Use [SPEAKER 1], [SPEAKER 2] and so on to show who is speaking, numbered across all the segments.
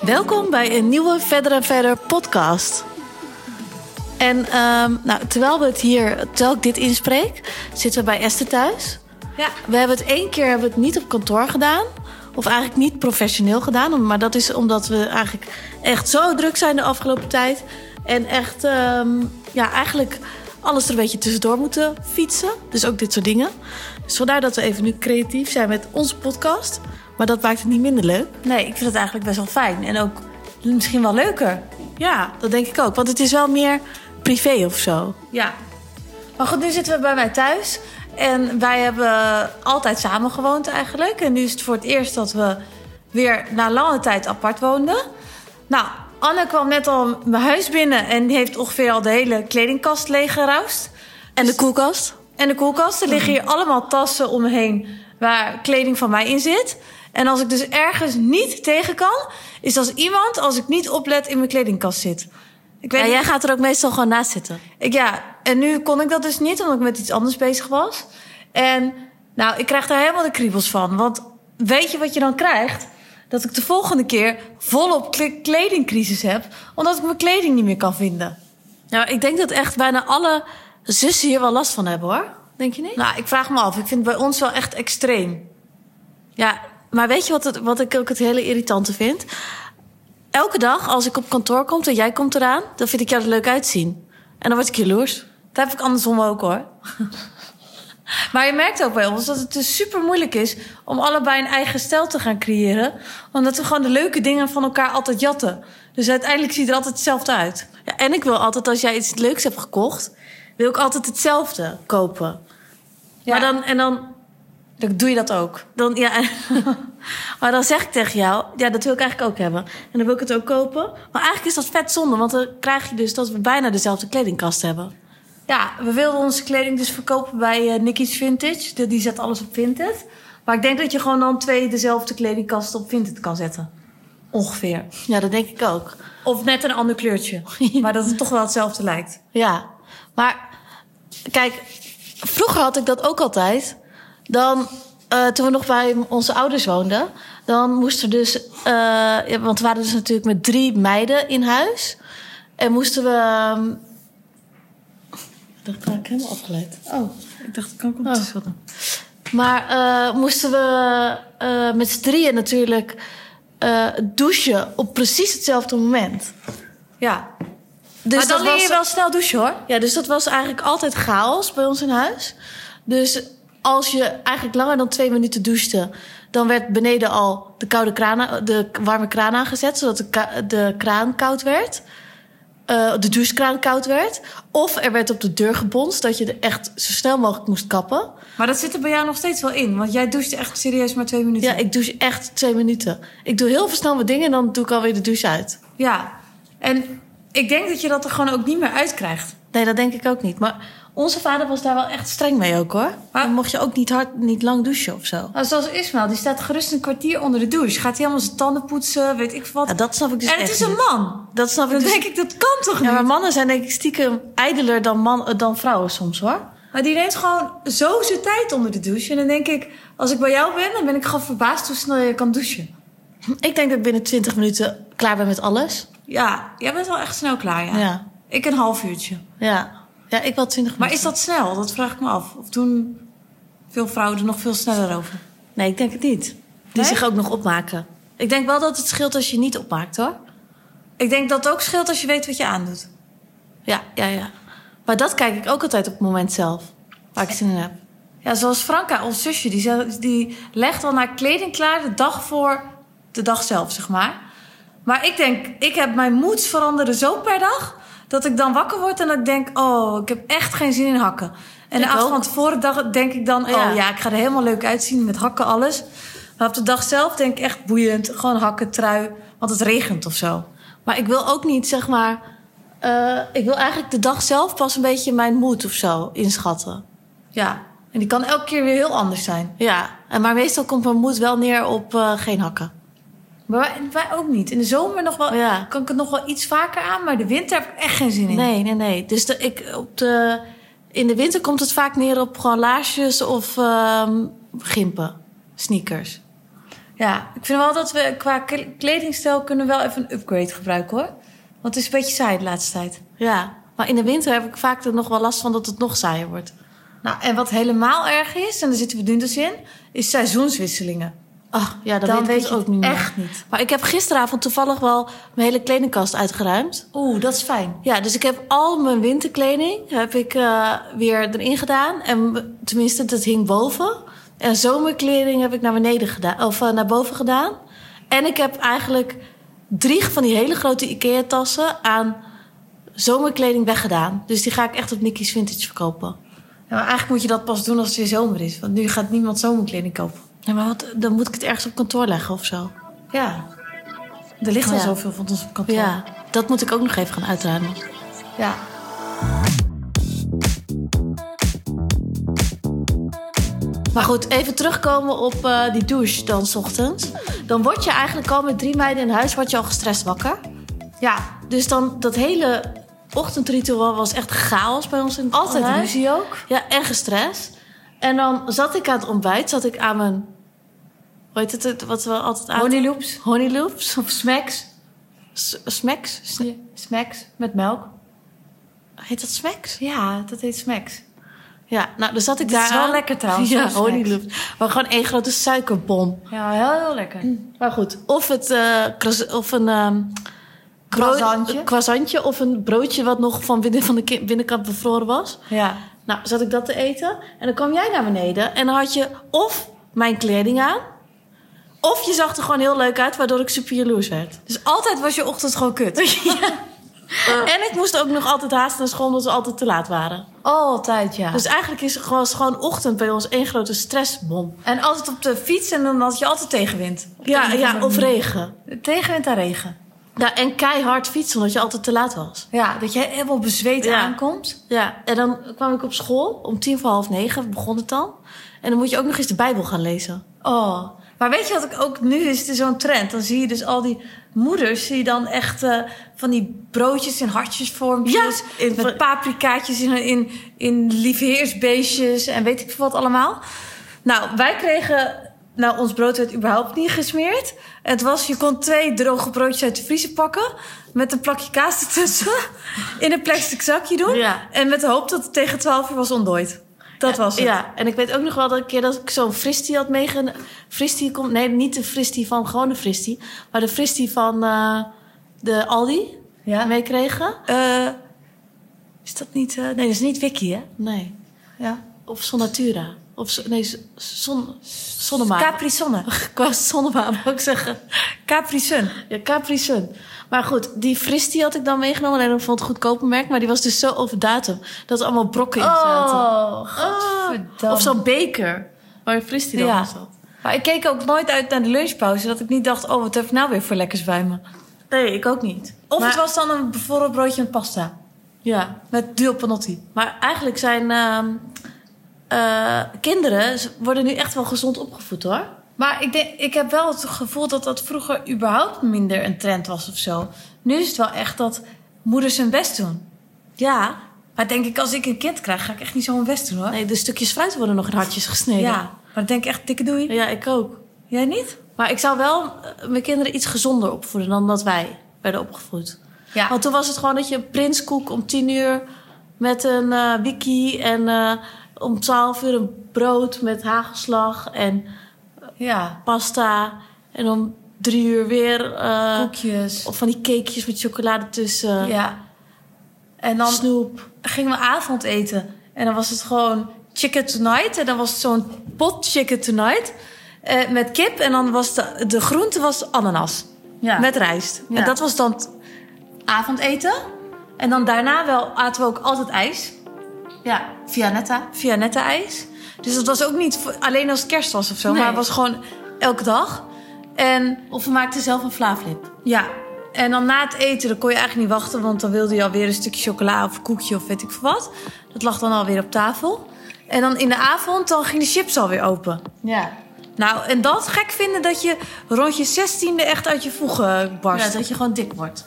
[SPEAKER 1] Welkom bij een nieuwe Verder en Verder podcast. En ehm, nou, terwijl, we het hier, terwijl ik dit inspreek, zitten we bij Esther thuis.
[SPEAKER 2] Ja.
[SPEAKER 1] We hebben het één keer hebben we het niet op kantoor gedaan. Of eigenlijk niet professioneel gedaan. Maar dat is omdat we eigenlijk echt zo druk zijn de afgelopen tijd. En echt, ehm, ja, eigenlijk alles er een beetje tussendoor moeten fietsen. Dus ook dit soort dingen. Dus vandaar dat we even nu creatief zijn met onze podcast. Maar dat maakt het niet minder leuk.
[SPEAKER 2] Nee, ik vind het eigenlijk best wel fijn. En ook misschien wel leuker.
[SPEAKER 1] Ja, dat denk ik ook. Want het is wel meer privé of zo.
[SPEAKER 2] Ja. Maar goed, nu zitten we bij mij thuis. En wij hebben altijd samen gewoond eigenlijk. En nu is het voor het eerst dat we weer na lange tijd apart woonden. Nou, Anne kwam net al mijn huis binnen en die heeft ongeveer al de hele kledingkast leeggeruist.
[SPEAKER 1] En de koelkast?
[SPEAKER 2] En de
[SPEAKER 1] Oh.
[SPEAKER 2] koelkasten liggen hier allemaal tassen omheen waar kleding van mij in zit. En als ik dus ergens niet tegen kan, is als iemand, als ik niet oplet, in mijn kledingkast zit. Ik weet
[SPEAKER 1] Ja,
[SPEAKER 2] niet-
[SPEAKER 1] jij gaat er ook meestal gewoon naast zitten.
[SPEAKER 2] ik, ja, en nu kon ik dat dus niet, omdat ik met iets anders bezig was. En nou, ik krijg daar helemaal de kriebels van. Want weet je wat je dan krijgt? Dat ik de volgende keer volop kle- kledingcrisis heb, omdat ik mijn kleding niet meer kan vinden.
[SPEAKER 1] Nou, ik denk dat echt bijna alle zussen hier wel last van hebben hoor. Denk je niet?
[SPEAKER 2] Nou, ik vraag me af. Ik vind het bij ons wel echt extreem.
[SPEAKER 1] Ja, maar weet je wat, het, wat ik ook het hele irritante vind? Elke dag als ik op kantoor kom en jij komt eraan, dan vind ik jou er leuk uitzien. En dan word ik jaloers.
[SPEAKER 2] Dat heb ik andersom ook hoor. maar je merkt ook bij ons dat het dus super moeilijk is om allebei een eigen stijl te gaan creëren. Omdat we gewoon de leuke dingen van elkaar altijd jatten. Dus uiteindelijk ziet er altijd hetzelfde uit.
[SPEAKER 1] Ja, en ik wil altijd, als jij iets leuks hebt gekocht, wil ik altijd hetzelfde kopen.
[SPEAKER 2] Maar dan,
[SPEAKER 1] en dan,
[SPEAKER 2] dan doe je dat ook.
[SPEAKER 1] dan, ja, maar dan zeg ik tegen jou, ja, dat wil ik eigenlijk ook hebben. En dan wil ik het ook kopen. Maar eigenlijk is dat vet zonde, want dan krijg je dus dat we bijna dezelfde kledingkast hebben.
[SPEAKER 2] Ja, we wilden onze kleding dus verkopen bij eh Nicky's Vintage. Die, die zet alles op Vinted. Maar ik denk dat je gewoon dan twee dezelfde kledingkasten op Vinted kan zetten. Ongeveer.
[SPEAKER 1] Ja, dat denk ik ook.
[SPEAKER 2] Of net een ander kleurtje. maar dat het toch wel hetzelfde lijkt.
[SPEAKER 1] Ja, maar kijk, vroeger had ik dat ook altijd. Dan, eh, toen we nog bij onze ouders woonden, dan moesten we dus, eh, ja, want we waren dus natuurlijk met drie meiden in huis. En moesten we. ehm, Ik dacht, ik helemaal afgeleid.
[SPEAKER 2] Oh, ik dacht, ik kan ook
[SPEAKER 1] Oh. Maar eh, moesten we eh, met z'n drieën natuurlijk eh, douchen op precies hetzelfde moment.
[SPEAKER 2] Ja.
[SPEAKER 1] Dus
[SPEAKER 2] maar dan
[SPEAKER 1] dat
[SPEAKER 2] leer je
[SPEAKER 1] was-
[SPEAKER 2] wel snel douchen hoor.
[SPEAKER 1] Ja, dus dat was eigenlijk altijd chaos bij ons in huis. Dus als je eigenlijk langer dan twee minuten douchte, dan werd beneden al de, koude kraan, a- de warme kraan aangezet, zodat de, ka- de kraan koud werd. Eh, de douchekraan koud werd. Of er werd op de deur gebonst, dat je er echt zo snel mogelijk moest kappen.
[SPEAKER 2] Maar dat zit er bij jou nog steeds wel in. Want jij doucht echt serieus maar twee minuten.
[SPEAKER 1] Ja, ik douche echt twee minuten. Ik doe heel veel snel mijn dingen en dan doe ik alweer de douche uit.
[SPEAKER 2] Ja. En ik denk dat je dat er gewoon ook niet meer uitkrijgt.
[SPEAKER 1] Nee, dat denk ik ook niet. Maar onze vader was daar wel echt streng mee ook hoor.
[SPEAKER 2] Maar-
[SPEAKER 1] Dan mocht je ook niet hard, niet lang douchen of zo.
[SPEAKER 2] Nou, zoals Ismaël, die staat gerust een kwartier onder de douche. Gaat hij helemaal zijn tanden poetsen, weet ik wat.
[SPEAKER 1] Ja, dat snap ik dus
[SPEAKER 2] en het
[SPEAKER 1] echt
[SPEAKER 2] is een
[SPEAKER 1] niet.
[SPEAKER 2] man.
[SPEAKER 1] Dat snap ik
[SPEAKER 2] Dan
[SPEAKER 1] dus.
[SPEAKER 2] denk ik, dat kan toch
[SPEAKER 1] Ja,
[SPEAKER 2] niet?
[SPEAKER 1] maar
[SPEAKER 2] maar...
[SPEAKER 1] mannen zijn denk ik stiekem ijdeler dan, man, eh, dan vrouwen soms hoor.
[SPEAKER 2] die neemt gewoon zo zijn tijd onder de douche. En dan denk ik, als ik bij jou ben, dan ben ik gewoon verbaasd hoe snel je kan douchen.
[SPEAKER 1] Ik denk dat ik binnen 20 minuten klaar ben met alles.
[SPEAKER 2] Ja, jij bent wel echt snel klaar, ja.
[SPEAKER 1] Ja, ja.
[SPEAKER 2] Ik een half uurtje.
[SPEAKER 1] ja. ik wel 20
[SPEAKER 2] Maar
[SPEAKER 1] minuten.
[SPEAKER 2] is dat snel? Dat vraag ik me af. Of doen veel vrouwen er nog veel sneller over?
[SPEAKER 1] Nee, ik denk het niet. Die
[SPEAKER 2] Nee?
[SPEAKER 1] zich ook nog opmaken. Ik denk wel dat het scheelt als je niet opmaakt hoor.
[SPEAKER 2] Ik denk dat het ook scheelt als je weet wat je aandoet.
[SPEAKER 1] Ja, ja, ja. Maar dat kijk ik ook altijd op het moment zelf. Waar ik zin in heb.
[SPEAKER 2] Ja, zoals Franka, ons zusje, die, ze- die legt al haar kleding klaar de dag voor de dag zelf, zeg maar. Maar ik denk, ik heb mijn moeds veranderen zo per dag... dat ik dan wakker word en dat ik denk, oh, ik heb echt geen zin in hakken. En de
[SPEAKER 1] Ik
[SPEAKER 2] avond
[SPEAKER 1] ook.
[SPEAKER 2] van tevoren dag, denk ik dan,
[SPEAKER 1] Ja.
[SPEAKER 2] oh ja, ik ga er helemaal leuk uitzien met hakken, alles. Maar op de dag zelf denk ik echt boeiend, gewoon hakken, trui, want het regent of zo.
[SPEAKER 1] Maar ik wil ook niet, zeg maar... eh, ik wil eigenlijk de dag zelf pas een beetje mijn moed of zo inschatten.
[SPEAKER 2] Ja, en die kan elke keer weer heel anders zijn.
[SPEAKER 1] Ja, en maar meestal komt mijn moed wel neer op eh, geen hakken.
[SPEAKER 2] Maar wij, wij ook niet. In de zomer nog wel,
[SPEAKER 1] Ja.
[SPEAKER 2] kan ik het nog wel iets vaker aan, maar de winter heb ik echt geen zin in.
[SPEAKER 1] Nee, nee, nee. Dus de, ik, op de, in de winter komt het vaak neer op gewoon laarsjes of ehm gimpen, sneakers.
[SPEAKER 2] Ja, ik vind wel dat we qua kle- kledingstijl kunnen wel even een upgrade gebruiken hoor. Want het is een beetje saai de laatste tijd.
[SPEAKER 1] Ja, maar in de winter heb ik vaak er nog wel last van dat het nog saaier wordt.
[SPEAKER 2] Nou, en wat helemaal erg is, en daar zitten we nu dus in, is seizoenswisselingen.
[SPEAKER 1] Ach, ja, dat
[SPEAKER 2] Dan
[SPEAKER 1] weet,
[SPEAKER 2] weet
[SPEAKER 1] ik
[SPEAKER 2] je
[SPEAKER 1] dus ook
[SPEAKER 2] het
[SPEAKER 1] niet meer.
[SPEAKER 2] echt niet.
[SPEAKER 1] Maar ik heb gisteravond toevallig wel mijn hele kledingkast uitgeruimd.
[SPEAKER 2] Oeh, dat is fijn.
[SPEAKER 1] Ja, dus ik heb al mijn winterkleding heb ik, eh, weer erin gedaan. En m- tenminste, dat hing boven. En zomerkleding heb ik naar beneden gedaan, of eh, naar boven gedaan. En ik heb eigenlijk drie van die hele grote IKEA-tassen aan zomerkleding weggedaan. Dus die ga ik echt op Nicky's Vintage verkopen.
[SPEAKER 2] Ja, maar eigenlijk moet je dat pas doen als het weer zomer is. Want nu gaat niemand zomerkleding kopen.
[SPEAKER 1] Ja, maar wat, dan moet ik het ergens op kantoor leggen of zo.
[SPEAKER 2] Ja. Er ligt al
[SPEAKER 1] Ja.
[SPEAKER 2] zoveel van ons op kantoor.
[SPEAKER 1] Ja, dat moet ik ook nog even gaan uitruimen.
[SPEAKER 2] ja.
[SPEAKER 1] Maar goed, even terugkomen op eh, die douche dan 's ochtends. Dan word je eigenlijk al met drie meiden in huis word je al gestrest wakker.
[SPEAKER 2] Ja.
[SPEAKER 1] Dus dan dat hele ochtendritueel was echt chaos bij ons in het
[SPEAKER 2] Altijd
[SPEAKER 1] huis.
[SPEAKER 2] ruzie ook.
[SPEAKER 1] Ja, en gestrest. En dan zat ik aan het ontbijt, zat ik aan mijn... Hoe heet het, het, wat we altijd aan...
[SPEAKER 2] Honeyloops.
[SPEAKER 1] Honey loops?
[SPEAKER 2] Of smacks.
[SPEAKER 1] S- Smacks? S-
[SPEAKER 2] Smacks met melk.
[SPEAKER 1] Heet dat smacks?
[SPEAKER 2] Ja, dat heet smacks.
[SPEAKER 1] Ja, nou, dan zat ik
[SPEAKER 2] Dit
[SPEAKER 1] daar
[SPEAKER 2] is wel
[SPEAKER 1] aan.
[SPEAKER 2] lekker trouwens,
[SPEAKER 1] Ja,
[SPEAKER 2] hoor, snacks.
[SPEAKER 1] honey loops. Maar gewoon één grote suikerbom.
[SPEAKER 2] Ja, heel, heel lekker.
[SPEAKER 1] Maar goed, of, het, eh, croiss- of een ehm, bro-
[SPEAKER 2] Croissantje.
[SPEAKER 1] een croissantje of een broodje wat nog van binnen van de ki- binnenkant bevroren was.
[SPEAKER 2] Ja.
[SPEAKER 1] Nou, zat ik dat te eten en dan kwam jij naar beneden en dan had je of mijn kleding aan, of je zag er gewoon heel leuk uit, waardoor ik super jaloers werd.
[SPEAKER 2] Dus altijd was je ochtend gewoon kut. Eh.
[SPEAKER 1] En ik moest ook nog altijd haast naar school omdat we altijd te laat waren.
[SPEAKER 2] Altijd, ja.
[SPEAKER 1] Dus eigenlijk is het gewoon, was gewoon ochtend bij ons één grote stressbom.
[SPEAKER 2] En altijd op de fiets en dan had je altijd tegenwind. Op de
[SPEAKER 1] Ja,
[SPEAKER 2] een
[SPEAKER 1] ja,
[SPEAKER 2] andere
[SPEAKER 1] of
[SPEAKER 2] manier.
[SPEAKER 1] regen.
[SPEAKER 2] Tegenwind en regen.
[SPEAKER 1] Ja, en keihard fietsen omdat je altijd te laat was.
[SPEAKER 2] Ja, dat je helemaal bezweet
[SPEAKER 1] Ja.
[SPEAKER 2] aankomt.
[SPEAKER 1] Ja, en dan kwam ik op school om tien voor half negen, begon het dan. En dan moet je ook nog eens de Bijbel gaan lezen.
[SPEAKER 2] Oh. Maar weet je wat ik ook nu is? Het is zo'n trend. Dan zie je dus al die moeders die dan echt eh, van die broodjes in hartjesvormpjes.
[SPEAKER 1] Ja, in-
[SPEAKER 2] met paprikaatjes in, in, in liefheersbeestjes en weet ik veel wat allemaal. Nou, wij kregen... Nou, ons brood werd überhaupt niet gesmeerd. Het was, je kon twee droge broodjes uit de vriezer pakken... met een plakje kaas ertussen in een plastic zakje doen...
[SPEAKER 1] Ja.
[SPEAKER 2] en met de hoop dat het tegen twaalf uur was ontdooid. Dat was het.
[SPEAKER 1] Ja, en ik weet ook nog wel dat een keer dat ik zo'n fristie had meegenomen. Fristie komt, nee, niet de fristie van gewone fristie, maar de fristie van eh, de Aldi
[SPEAKER 2] Ja.
[SPEAKER 1] meekregen.
[SPEAKER 2] Eh, is dat niet... eh, nee, dat is niet Wiki, hè?
[SPEAKER 1] Nee,
[SPEAKER 2] Ja.
[SPEAKER 1] of Sonnatura. Of zo- nee, z- zon, zonnemaan.
[SPEAKER 2] Capri Sonne.
[SPEAKER 1] Qua zonnemaan, moet ik zeggen.
[SPEAKER 2] Capri Sun.
[SPEAKER 1] Ja, Capri Sun. Maar goed, die fris die had ik dan meegenomen. En ik vond het een goedkoper merk. Maar die was dus zo over datum. Dat er allemaal brokken
[SPEAKER 2] Oh,
[SPEAKER 1] in zaten.
[SPEAKER 2] godverdamme.
[SPEAKER 1] Oh, of zo'n beker. Waar een fris die dan
[SPEAKER 2] Ja.
[SPEAKER 1] in zat.
[SPEAKER 2] Maar ik keek ook nooit uit naar de lunchpauze. Dat ik niet dacht, oh, wat heb ik nou weer voor lekkers bij me?
[SPEAKER 1] Nee, ik ook niet.
[SPEAKER 2] Of
[SPEAKER 1] Maar-
[SPEAKER 2] het was dan een bevroren broodje met pasta.
[SPEAKER 1] Ja,
[SPEAKER 2] Met duo panotti.
[SPEAKER 1] maar eigenlijk zijn ehm, eh, kinderen... ze worden nu echt wel gezond opgevoed, hoor.
[SPEAKER 2] Maar ik, denk, ik heb wel het gevoel dat dat vroeger überhaupt minder een trend was of zo. Nu is het wel echt dat moeders hun best doen.
[SPEAKER 1] Ja.
[SPEAKER 2] Maar denk ik, als ik een kind krijg, ga ik echt niet zo mijn best doen hoor.
[SPEAKER 1] Nee, de stukjes fruit worden nog in hartjes gesneden.
[SPEAKER 2] ja, maar dan denk ik echt, dikke doei.
[SPEAKER 1] Ja, ik ook.
[SPEAKER 2] Jij niet?
[SPEAKER 1] Maar ik zou wel eh, mijn kinderen iets gezonder opvoeden... dan dat wij werden opgevoed.
[SPEAKER 2] Ja.
[SPEAKER 1] Want toen was het gewoon dat je prinskoek om tien uur met een eh wiki en eh, om twaalf uur een brood met hagelslag en
[SPEAKER 2] ja.
[SPEAKER 1] pasta. En om drie uur weer eh,
[SPEAKER 2] Koekjes.
[SPEAKER 1] of van die cakejes met chocolade tussen,
[SPEAKER 2] Ja. En dan
[SPEAKER 1] snoep.
[SPEAKER 2] gingen we avondeten. En dan was het gewoon chicken tonight. En dan was het zo'n pot chicken tonight. eh, met kip. En dan was de, de groente was ananas.
[SPEAKER 1] Ja.
[SPEAKER 2] Met rijst.
[SPEAKER 1] Ja.
[SPEAKER 2] En dat was dan het avondeten. En dan daarna wel aten we ook altijd ijs.
[SPEAKER 1] Ja, via netta.
[SPEAKER 2] Via nette ijs. Dus dat was ook niet voor- alleen als het kerst was of zo.
[SPEAKER 1] Nee.
[SPEAKER 2] Maar het was gewoon elke dag. En
[SPEAKER 1] Of we maakten zelf een flaaflip.
[SPEAKER 2] Ja, en dan na het eten dan kon je eigenlijk niet wachten, want dan wilde je alweer een stukje chocola of een koekje of weet ik veel wat. Dat lag dan alweer op tafel. En dan in de avond dan ging de chips alweer open.
[SPEAKER 1] Ja.
[SPEAKER 2] Nou, en dat gek vinden dat je rond je zestiende echt uit je voegen barst.
[SPEAKER 1] ja,
[SPEAKER 2] Ja,
[SPEAKER 1] dat je gewoon dik wordt.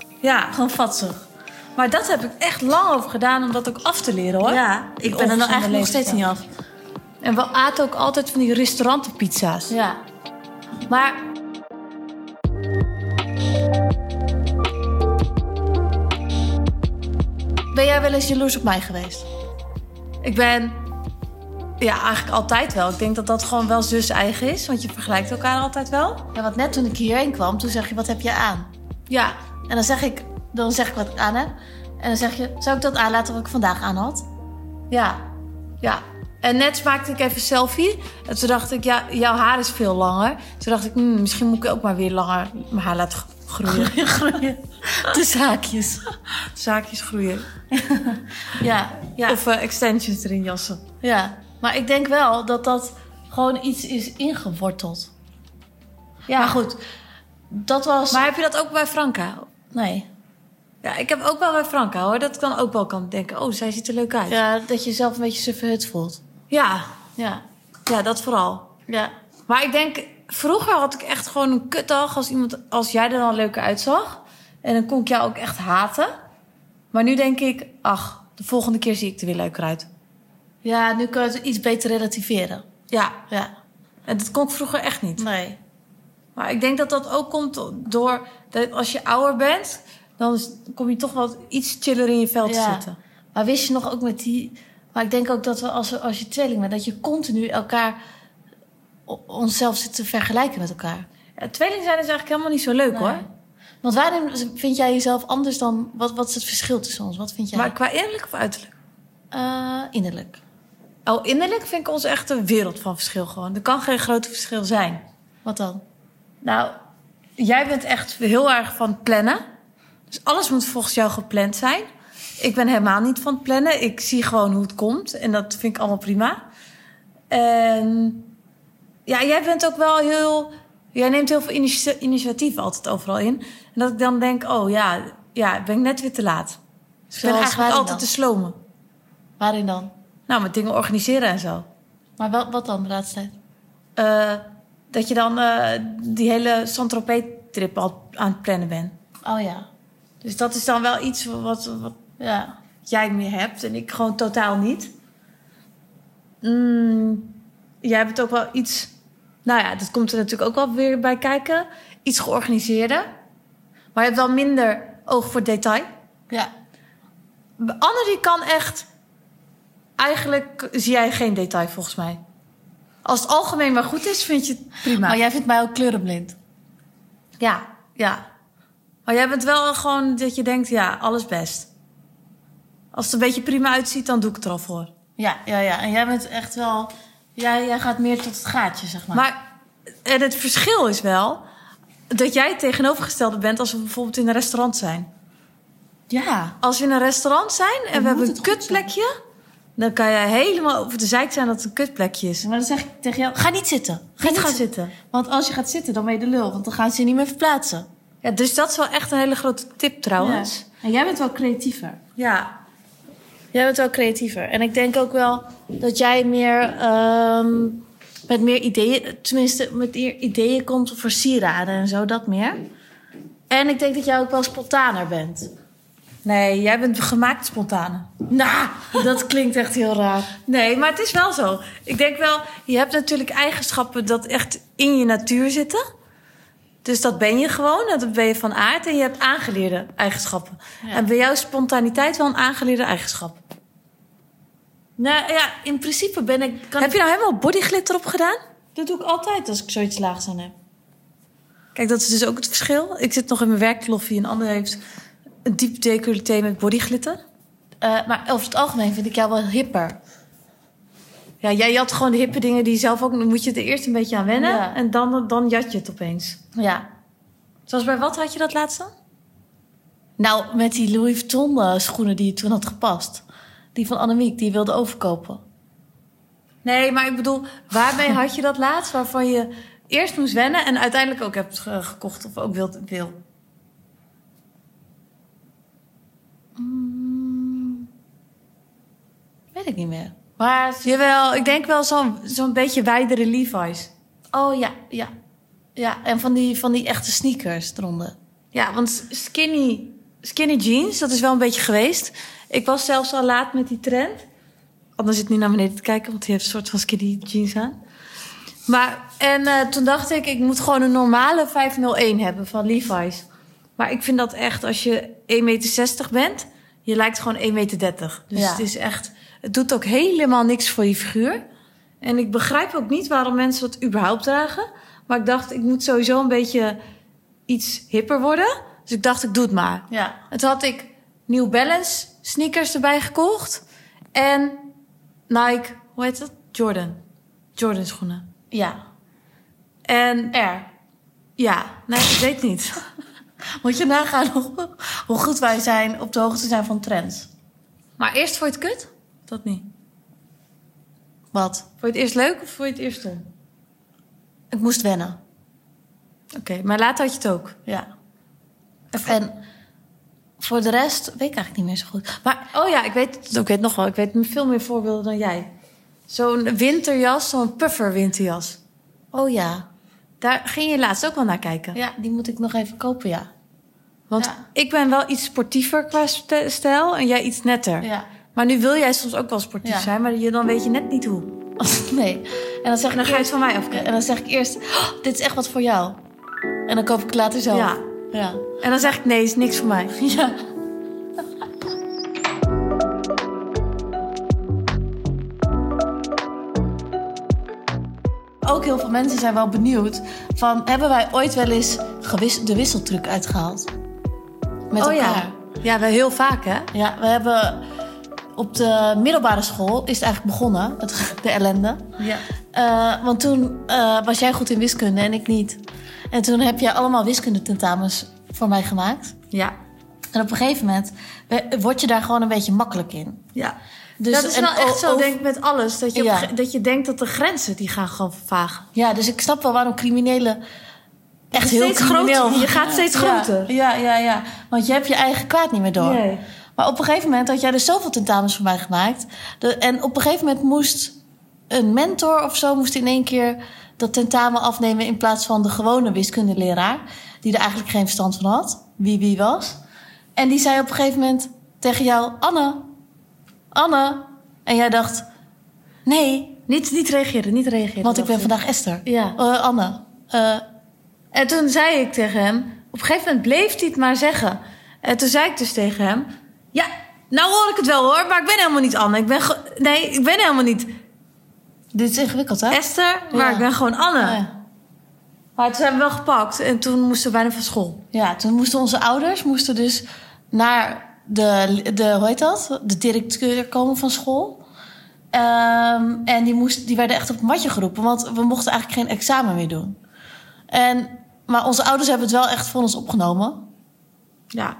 [SPEAKER 2] gewoon vatsig. Maar dat heb ik echt lang over gedaan om dat ook af te leren hoor.
[SPEAKER 1] Ja,
[SPEAKER 2] Die
[SPEAKER 1] ik ben er nou
[SPEAKER 2] ongezonde
[SPEAKER 1] eigenlijk nog steeds niet
[SPEAKER 2] levensstijl.
[SPEAKER 1] af.
[SPEAKER 2] En we aten ook altijd van die restaurantenpizza's.
[SPEAKER 1] Ja.
[SPEAKER 2] Maar
[SPEAKER 1] Ben jij wel eens jaloers op mij geweest?
[SPEAKER 2] Ik ben ja, eigenlijk altijd wel. Ik denk dat dat gewoon wel zus eigen is, want je vergelijkt elkaar altijd wel.
[SPEAKER 1] Ja, want net toen ik hierheen kwam, toen zeg je, wat heb je aan?
[SPEAKER 2] Ja,
[SPEAKER 1] En dan zeg ik, dan zeg ik wat ik aan heb. En dan zeg je, zou ik dat aanlaten wat ik vandaag aan had?
[SPEAKER 2] ja, ja. En net maakte ik even een selfie. En toen dacht ik, ja, jouw haar is veel langer. Toen dacht ik, hmm, misschien moet ik ook maar weer langer mijn haar laten groeien.
[SPEAKER 1] Groeien. De zaakjes.
[SPEAKER 2] Zaakjes groeien.
[SPEAKER 1] Ja, ja,
[SPEAKER 2] Of eh, extensions erin jassen.
[SPEAKER 1] ja. Maar ik denk wel dat dat gewoon iets is ingeworteld.
[SPEAKER 2] Ja,
[SPEAKER 1] Maar goed, dat was...
[SPEAKER 2] Maar heb je dat ook bij Franka?
[SPEAKER 1] Nee.
[SPEAKER 2] Ja, ik heb ook wel bij Franka hoor. Dat ik dan ook wel kan denken, oh, zij ziet er leuk uit.
[SPEAKER 1] Ja, dat je jezelf een beetje sufferhut voelt.
[SPEAKER 2] ja,
[SPEAKER 1] Ja,
[SPEAKER 2] ja, dat vooral.
[SPEAKER 1] ja.
[SPEAKER 2] Maar ik denk, vroeger had ik echt gewoon een kutdag als, iemand, als jij er dan leuker uitzag. En dan kon ik jou ook echt haten. Maar nu denk ik, ach, de volgende keer zie ik er weer leuker uit.
[SPEAKER 1] Ja, nu kan je het iets beter relativeren.
[SPEAKER 2] Ja,
[SPEAKER 1] Ja,
[SPEAKER 2] en dat kon ik vroeger echt niet.
[SPEAKER 1] nee.
[SPEAKER 2] Maar ik denk dat dat ook komt door, dat als je ouder bent, dan is- kom je toch wel iets chiller in je vel te
[SPEAKER 1] Ja.
[SPEAKER 2] zitten.
[SPEAKER 1] Maar wist je nog ook met die... Maar ik denk ook dat we als, als je tweeling bent... dat je continu elkaar... o- onszelf zit te vergelijken met elkaar.
[SPEAKER 2] Ja, tweeling zijn is eigenlijk helemaal niet zo leuk
[SPEAKER 1] Nee.
[SPEAKER 2] hoor.
[SPEAKER 1] Want waarom vind jij jezelf anders dan... Wat, wat is het verschil tussen ons? Wat vind jij
[SPEAKER 2] Maar qua innerlijk of uiterlijk?
[SPEAKER 1] eh, innerlijk?
[SPEAKER 2] Oh, innerlijk vind ik ons echt een wereld van verschil gewoon. Er kan geen groot verschil zijn.
[SPEAKER 1] Wat dan?
[SPEAKER 2] Nou, jij bent echt heel erg van het plannen. Dus alles moet volgens jou gepland zijn. Ik ben helemaal niet van het plannen. Ik zie gewoon hoe het komt. En dat vind ik allemaal prima. En ja, jij bent ook wel heel. Jij neemt heel veel initi- initiatief altijd overal in. En dat ik dan denk: oh ja, ja ben ik net weer te laat. Dus ik ben
[SPEAKER 1] Zoals
[SPEAKER 2] eigenlijk
[SPEAKER 1] waarin
[SPEAKER 2] altijd te
[SPEAKER 1] dan?
[SPEAKER 2] slomen.
[SPEAKER 1] Waarin dan?
[SPEAKER 2] Nou, met dingen organiseren en zo.
[SPEAKER 1] Maar wel, wat dan de laatste tijd?
[SPEAKER 2] Eh, dat je dan eh, die hele Saint-Tropez-trip al aan het plannen bent.
[SPEAKER 1] Oh ja.
[SPEAKER 2] Dus dat is dan wel iets wat, wat
[SPEAKER 1] Ja.
[SPEAKER 2] jij meer hebt en ik gewoon totaal niet. Mm, jij hebt ook wel iets... Nou ja, dat komt er natuurlijk ook wel weer bij kijken. Iets georganiseerder. Maar je hebt wel minder oog voor detail.
[SPEAKER 1] Ja.
[SPEAKER 2] Anne die kan echt... Eigenlijk zie jij geen detail volgens mij. Als het algemeen maar goed is, vind je het prima.
[SPEAKER 1] Maar jij vindt mij ook kleurenblind.
[SPEAKER 2] Ja, ja. Maar jij bent wel gewoon dat je denkt, ja, alles best. Als het een beetje prima uitziet, dan doe ik het er al voor.
[SPEAKER 1] Ja, ja, ja. En jij bent echt wel... Jij, jij gaat meer tot het gaatje, zeg maar.
[SPEAKER 2] Maar en het verschil is wel dat jij het tegenovergestelde bent als we bijvoorbeeld in een restaurant zijn.
[SPEAKER 1] ja.
[SPEAKER 2] Als we in een restaurant zijn
[SPEAKER 1] Dan
[SPEAKER 2] en we
[SPEAKER 1] moet
[SPEAKER 2] hebben
[SPEAKER 1] het
[SPEAKER 2] een
[SPEAKER 1] goed
[SPEAKER 2] kutplekje, dan kan jij helemaal over de zeik zijn dat het een kutplekje is.
[SPEAKER 1] Maar dan zeg ik tegen jou, ga niet zitten. Ga
[SPEAKER 2] Niet
[SPEAKER 1] niet
[SPEAKER 2] gaan
[SPEAKER 1] zitten.
[SPEAKER 2] zitten.
[SPEAKER 1] Want als je gaat zitten, dan ben je de lul. Want dan gaan ze je niet meer verplaatsen.
[SPEAKER 2] Ja, dus dat is wel echt een hele grote tip trouwens.
[SPEAKER 1] Ja. En jij bent wel creatiever.
[SPEAKER 2] Ja.
[SPEAKER 1] Jij bent wel creatiever. En ik denk ook wel dat jij meer ehm, met meer ideeën, tenminste met meer ideeën komt voor sieraden en
[SPEAKER 2] Nou,
[SPEAKER 1] zo, dat meer. En ik denk dat jij ook wel spontaner bent.
[SPEAKER 2] Nee, jij bent gemaakt spontane.
[SPEAKER 1] Nou, dat klinkt echt heel raar.
[SPEAKER 2] Nee, maar het is wel zo. Ik denk wel, je hebt natuurlijk eigenschappen dat echt in je natuur zitten. Dus dat ben je gewoon, dat ben je van aard. En je hebt aangeleerde eigenschappen.
[SPEAKER 1] Ja.
[SPEAKER 2] En bij jou is spontaniteit wel een aangeleerde eigenschap.
[SPEAKER 1] Nou ja, in principe ben ik. Kan
[SPEAKER 2] heb je nou helemaal bodyglitter op gedaan?
[SPEAKER 1] Dat doe ik altijd als ik zoiets laags aan heb.
[SPEAKER 2] Kijk, dat is dus ook het verschil. Ik zit nog in mijn werkloffie en ander heeft een diep decolleté met bodyglitter.
[SPEAKER 1] Eh, maar over het algemeen vind ik jou wel hipper.
[SPEAKER 2] Ja, jij jat gewoon de hippe dingen die je zelf ook... Dan moet je er eerst een beetje aan wennen
[SPEAKER 1] Ja.
[SPEAKER 2] en dan, dan jat je het opeens.
[SPEAKER 1] Ja.
[SPEAKER 2] Zoals bij wat had je dat laatst dan?
[SPEAKER 1] Nou, met die Louis Vuitton eh, schoenen die je toen had gepast. Die van Annemiek, die wilde overkopen.
[SPEAKER 2] Nee, maar ik bedoel, waarmee had je dat laatst waarvan je eerst moest wennen en uiteindelijk ook hebt ge- gekocht of ook wilt, wil?
[SPEAKER 1] Mm, Weet ik niet meer. Maar
[SPEAKER 2] Jawel, ik denk wel zo'n zo'n beetje wijdere Levi's.
[SPEAKER 1] Oh ja, ja. Ja, en van die, van die echte sneakers eronder.
[SPEAKER 2] Ja, want skinny, skinny jeans, dat is wel een beetje geweest. Ik was zelfs al laat met die trend. Anders zit nu naar beneden te kijken, want die heeft een soort van skinny jeans aan. Maar, en eh, toen dacht ik, ik moet gewoon een normale 501 hebben van Levi's. Maar ik vind dat echt, als je 1,60 meter bent, je lijkt gewoon 1,30 meter. Dus
[SPEAKER 1] Ja.
[SPEAKER 2] het is echt, het doet ook helemaal niks voor je figuur. En ik begrijp ook niet waarom mensen dat überhaupt dragen. Maar ik dacht, ik moet sowieso een beetje iets hipper worden. Dus ik dacht, ik doe het maar.
[SPEAKER 1] Ja.
[SPEAKER 2] En toen had ik New Balance sneakers erbij gekocht. En Nike, hoe heet dat? Jordan. Jordan schoenen.
[SPEAKER 1] Ja.
[SPEAKER 2] En
[SPEAKER 1] Er.
[SPEAKER 2] ja, nee, ik weet niet.
[SPEAKER 1] Moet je nagaan hoe, hoe goed wij zijn op de hoogte zijn van trends.
[SPEAKER 2] Maar eerst vond je het kut? Dat niet.
[SPEAKER 1] Wat?
[SPEAKER 2] Vond je het eerst leuk of vond je het eerst dom?
[SPEAKER 1] Ik moest wennen.
[SPEAKER 2] Oké, maar later had je het ook.
[SPEAKER 1] Ja. En voor de rest weet ik eigenlijk niet meer zo goed. Maar
[SPEAKER 2] Oh ja, ik weet het ik weet nog wel. Ik weet veel meer voorbeelden dan jij. Zo'n winterjas, zo'n puffer winterjas.
[SPEAKER 1] oh ja.
[SPEAKER 2] Daar ging je laatst ook wel naar kijken.
[SPEAKER 1] Ja, die moet ik nog even kopen, ja.
[SPEAKER 2] Want
[SPEAKER 1] Ja.
[SPEAKER 2] ik ben wel iets sportiever qua st- stijl en jij iets netter.
[SPEAKER 1] Ja.
[SPEAKER 2] Maar nu wil jij soms ook wel sportief
[SPEAKER 1] Ja.
[SPEAKER 2] zijn, maar je, dan weet je net niet hoe.
[SPEAKER 1] nee. En dan zeg
[SPEAKER 2] En
[SPEAKER 1] ik
[SPEAKER 2] dan ga je het
[SPEAKER 1] eerst-
[SPEAKER 2] van mij afkijken.
[SPEAKER 1] En dan zeg ik eerst, "Oh, dit is echt wat voor jou. En dan koop ik het later zelf.
[SPEAKER 2] Ja.
[SPEAKER 1] Ja.
[SPEAKER 2] En dan zeg ik nee, is niks voor mij.
[SPEAKER 1] Ja. Ook heel veel mensen zijn wel benieuwd van hebben wij ooit wel eens gewis- de wisseltruc uitgehaald met
[SPEAKER 2] oh
[SPEAKER 1] elkaar?
[SPEAKER 2] ja. Ja, wel heel vaak hè?
[SPEAKER 1] Ja, we hebben op de middelbare school is het eigenlijk begonnen, het, de ellende.
[SPEAKER 2] Ja.
[SPEAKER 1] Eh, want toen eh, was jij goed in wiskunde en ik niet. En toen heb jij allemaal wiskundetentamens voor mij gemaakt.
[SPEAKER 2] Ja.
[SPEAKER 1] En op een gegeven moment we- word je daar gewoon een beetje makkelijk in.
[SPEAKER 2] ja.
[SPEAKER 1] Dus,
[SPEAKER 2] dat is
[SPEAKER 1] en
[SPEAKER 2] wel echt
[SPEAKER 1] o-
[SPEAKER 2] zo,
[SPEAKER 1] over-
[SPEAKER 2] denk ik, met alles. Dat je, op
[SPEAKER 1] Ja.
[SPEAKER 2] een ge- dat je denkt dat de grenzen, die gaan gewoon vervagen.
[SPEAKER 1] Ja, dus ik snap wel waarom criminelen echt heel
[SPEAKER 2] Steeds
[SPEAKER 1] crimineel
[SPEAKER 2] groter. Je gaat
[SPEAKER 1] Ja. Ja.
[SPEAKER 2] steeds groter.
[SPEAKER 1] Ja, ja, ja, Want je hebt je eigen kwaad niet meer door.
[SPEAKER 2] Nee.
[SPEAKER 1] Maar op een gegeven moment had jij dus zoveel tentamens voor mij gemaakt. De- en op een gegeven moment moest een mentor of zo moest in één keer dat tentamen afnemen in plaats van de gewone wiskundeleraar, die er eigenlijk geen verstand van had, wie wie was. En die zei op een gegeven moment tegen jou: Anne, Anne. En jij dacht: Nee,
[SPEAKER 2] Niet, niet reageren, niet reageren.
[SPEAKER 1] want ik
[SPEAKER 2] dacht
[SPEAKER 1] ben vandaag Esther.
[SPEAKER 2] Ja.
[SPEAKER 1] Eh, Anne. eh,
[SPEAKER 2] En toen zei ik tegen hem, op een gegeven moment bleef hij het maar zeggen. En toen zei ik dus tegen hem, ja, nou hoor ik het wel hoor, maar ik ben helemaal niet Anne. Ik ben ge- nee, ik ben helemaal niet
[SPEAKER 1] dit is ingewikkeld, hè? Eh,
[SPEAKER 2] Esther, maar
[SPEAKER 1] Ja.
[SPEAKER 2] ik ben gewoon Anne.
[SPEAKER 1] Ja.
[SPEAKER 2] Maar toen zijn we wel gepakt en toen moesten we bijna van school.
[SPEAKER 1] Ja, toen moesten onze ouders moesten dus naar de, de, hoe heet dat? De directeur komen van school. Ehm, en die, moest, die werden echt op het matje geroepen, want we mochten eigenlijk geen examen meer doen. En, maar onze ouders hebben het wel echt voor ons opgenomen.
[SPEAKER 2] Ja.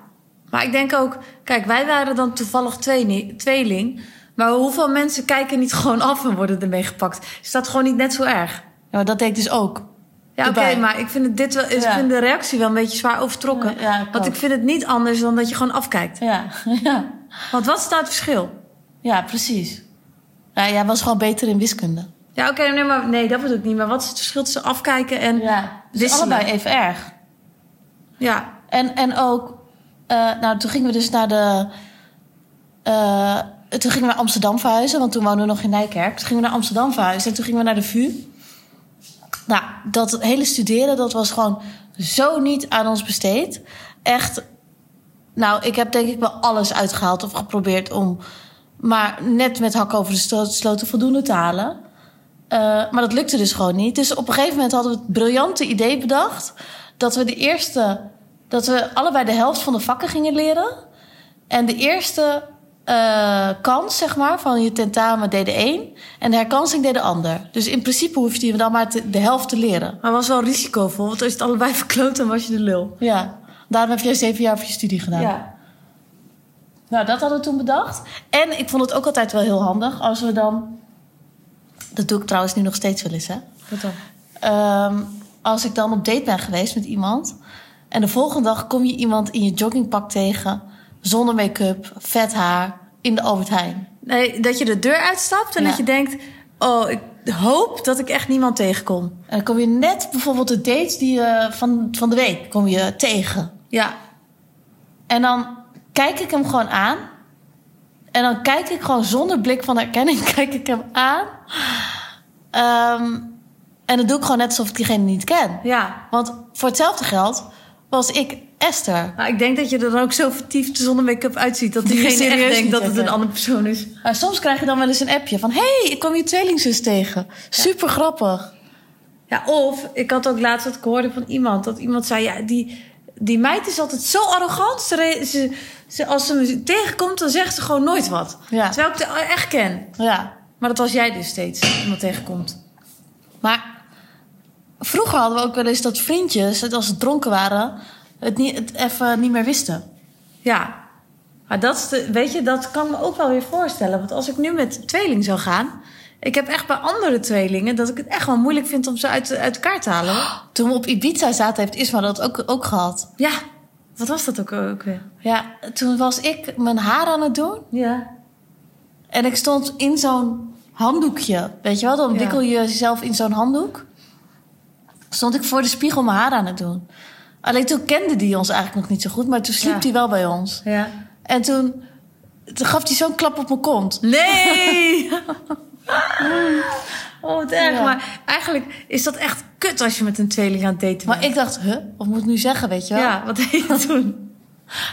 [SPEAKER 2] Maar ik denk ook, kijk, wij waren dan toevallig tweeni- tweeling. Maar hoeveel mensen kijken niet gewoon af en worden ermee gepakt? Is dat gewoon niet net zo erg?
[SPEAKER 1] Ja, maar dat deed ik dus ook.
[SPEAKER 2] Ja, oké,
[SPEAKER 1] Erbij.
[SPEAKER 2] maar ik vind, het dit wel, ik
[SPEAKER 1] Ja.
[SPEAKER 2] vind de reactie wel een beetje zwaar overtrokken.
[SPEAKER 1] Ja, ja, ik
[SPEAKER 2] want
[SPEAKER 1] ook.
[SPEAKER 2] ik vind het niet anders dan dat je gewoon afkijkt.
[SPEAKER 1] Ja, ja.
[SPEAKER 2] Want wat is nou het verschil?
[SPEAKER 1] ja precies. Ja, jij was gewoon beter in wiskunde.
[SPEAKER 2] Ja, oké, nee, maar nee, dat bedoel ik niet. Maar wat is het verschil tussen afkijken en... Ja.
[SPEAKER 1] dus
[SPEAKER 2] wisselen.
[SPEAKER 1] allebei even erg.
[SPEAKER 2] Ja,
[SPEAKER 1] En, en ook, eh, nou, toen gingen we dus naar de. eh, toen gingen we naar Amsterdam verhuizen, want toen woonden we nog in Nijkerk. Toen gingen we naar Amsterdam verhuizen en toen gingen we naar de VU. Nou, dat hele studeren, dat was gewoon zo niet aan ons besteed. Echt, nou, ik heb denk ik wel alles uitgehaald of geprobeerd om... maar net met hak over de sto- sloten voldoende te halen. Eh, maar dat lukte dus gewoon niet. Dus op een gegeven moment hadden we het briljante idee bedacht... dat we de eerste... dat we allebei de helft van de vakken gingen leren. En de eerste eh, kans, zeg maar, van je tentamen deed de een... en de herkansing deed de ander. Dus in principe hoefde je dan maar te- de helft te leren.
[SPEAKER 2] maar het was wel risicovol. Want als je het allebei verkloot, dan was je de lul.
[SPEAKER 1] Ja, daarom heb jij zeven jaar voor je studie gedaan. Nou, dat hadden we toen bedacht. En ik vond het ook altijd wel heel handig als we dan. Dat doe ik trouwens nu nog steeds wel eens, hè?
[SPEAKER 2] Wat dan?
[SPEAKER 1] Ehm, als ik dan op date ben geweest met iemand. En de volgende dag kom je iemand in je joggingpak tegen. Zonder make-up, vet haar, in de Albert Heijn.
[SPEAKER 2] Nee, dat je de deur uitstapt en
[SPEAKER 1] Ja.
[SPEAKER 2] dat je denkt... Oh, ik hoop dat ik echt niemand tegenkom.
[SPEAKER 1] En dan kom je net bijvoorbeeld de date die, je van, van de week kom je tegen.
[SPEAKER 2] Ja.
[SPEAKER 1] En dan kijk ik hem gewoon aan. En dan kijk ik gewoon zonder blik van herkenning, kijk ik hem aan. Ehm, en dan doe ik gewoon net alsof ik diegene niet ken.
[SPEAKER 2] Ja.
[SPEAKER 1] Want voor hetzelfde geld was ik Esther.
[SPEAKER 2] Maar ik denk dat je er dan ook zo vertiefd zonder make-up uitziet... dat
[SPEAKER 1] Die
[SPEAKER 2] diegene
[SPEAKER 1] serieus
[SPEAKER 2] echt denkt
[SPEAKER 1] niet
[SPEAKER 2] dat het
[SPEAKER 1] hebben.
[SPEAKER 2] een andere persoon is.
[SPEAKER 1] Maar Nou, soms krijg je dan wel eens een appje van... hey, ik kwam je tweelingzus tegen. Super grappig.
[SPEAKER 2] Ja, of ik had ook laatst wat ik hoorde van iemand. Dat iemand zei, ja, die, die meid is altijd zo arrogant. Ze, re- ze, ze- als ze me tegenkomt, dan zegt ze gewoon nooit wat.
[SPEAKER 1] Ja.
[SPEAKER 2] Terwijl ik het echt ken.
[SPEAKER 1] Ja,
[SPEAKER 2] Maar dat was jij dus steeds, iemand tegenkomt.
[SPEAKER 1] maar vroeger hadden we ook wel eens dat vriendjes... het als ze dronken waren, het, niet, het even niet meer wisten.
[SPEAKER 2] Ja. Maar dat, is de, weet je, dat kan ik me ook wel weer voorstellen. Want als ik nu met tweeling zou gaan... Ik heb echt bij andere tweelingen dat ik het echt wel moeilijk vind om ze uit, uit elkaar te halen. hoor.
[SPEAKER 1] Toen we op Ibiza zaten, heeft Isma dat ook, ook gehad.
[SPEAKER 2] Ja, wat was dat ook, ook weer?
[SPEAKER 1] Ja, toen was ik mijn haar aan het doen...
[SPEAKER 2] Ja.
[SPEAKER 1] En ik stond in zo'n handdoekje. Weet je wel, dan
[SPEAKER 2] Ja.
[SPEAKER 1] wikkel je jezelf in zo'n handdoek. Stond ik voor de spiegel mijn haar aan het doen. Alleen toen kende die ons eigenlijk nog niet zo goed, maar toen sliep
[SPEAKER 2] Ja.
[SPEAKER 1] die wel bij ons.
[SPEAKER 2] ja.
[SPEAKER 1] En toen, toen gaf hij zo'n klap op mijn kont.
[SPEAKER 2] Nee! oh, wat erg.
[SPEAKER 1] Ja.
[SPEAKER 2] Maar eigenlijk is dat echt kut als je met een tweeling aan het daten
[SPEAKER 1] Maar
[SPEAKER 2] bent.
[SPEAKER 1] ik dacht, huh, wat moet ik nu zeggen, weet je wel?
[SPEAKER 2] Ja, wat deed je toen?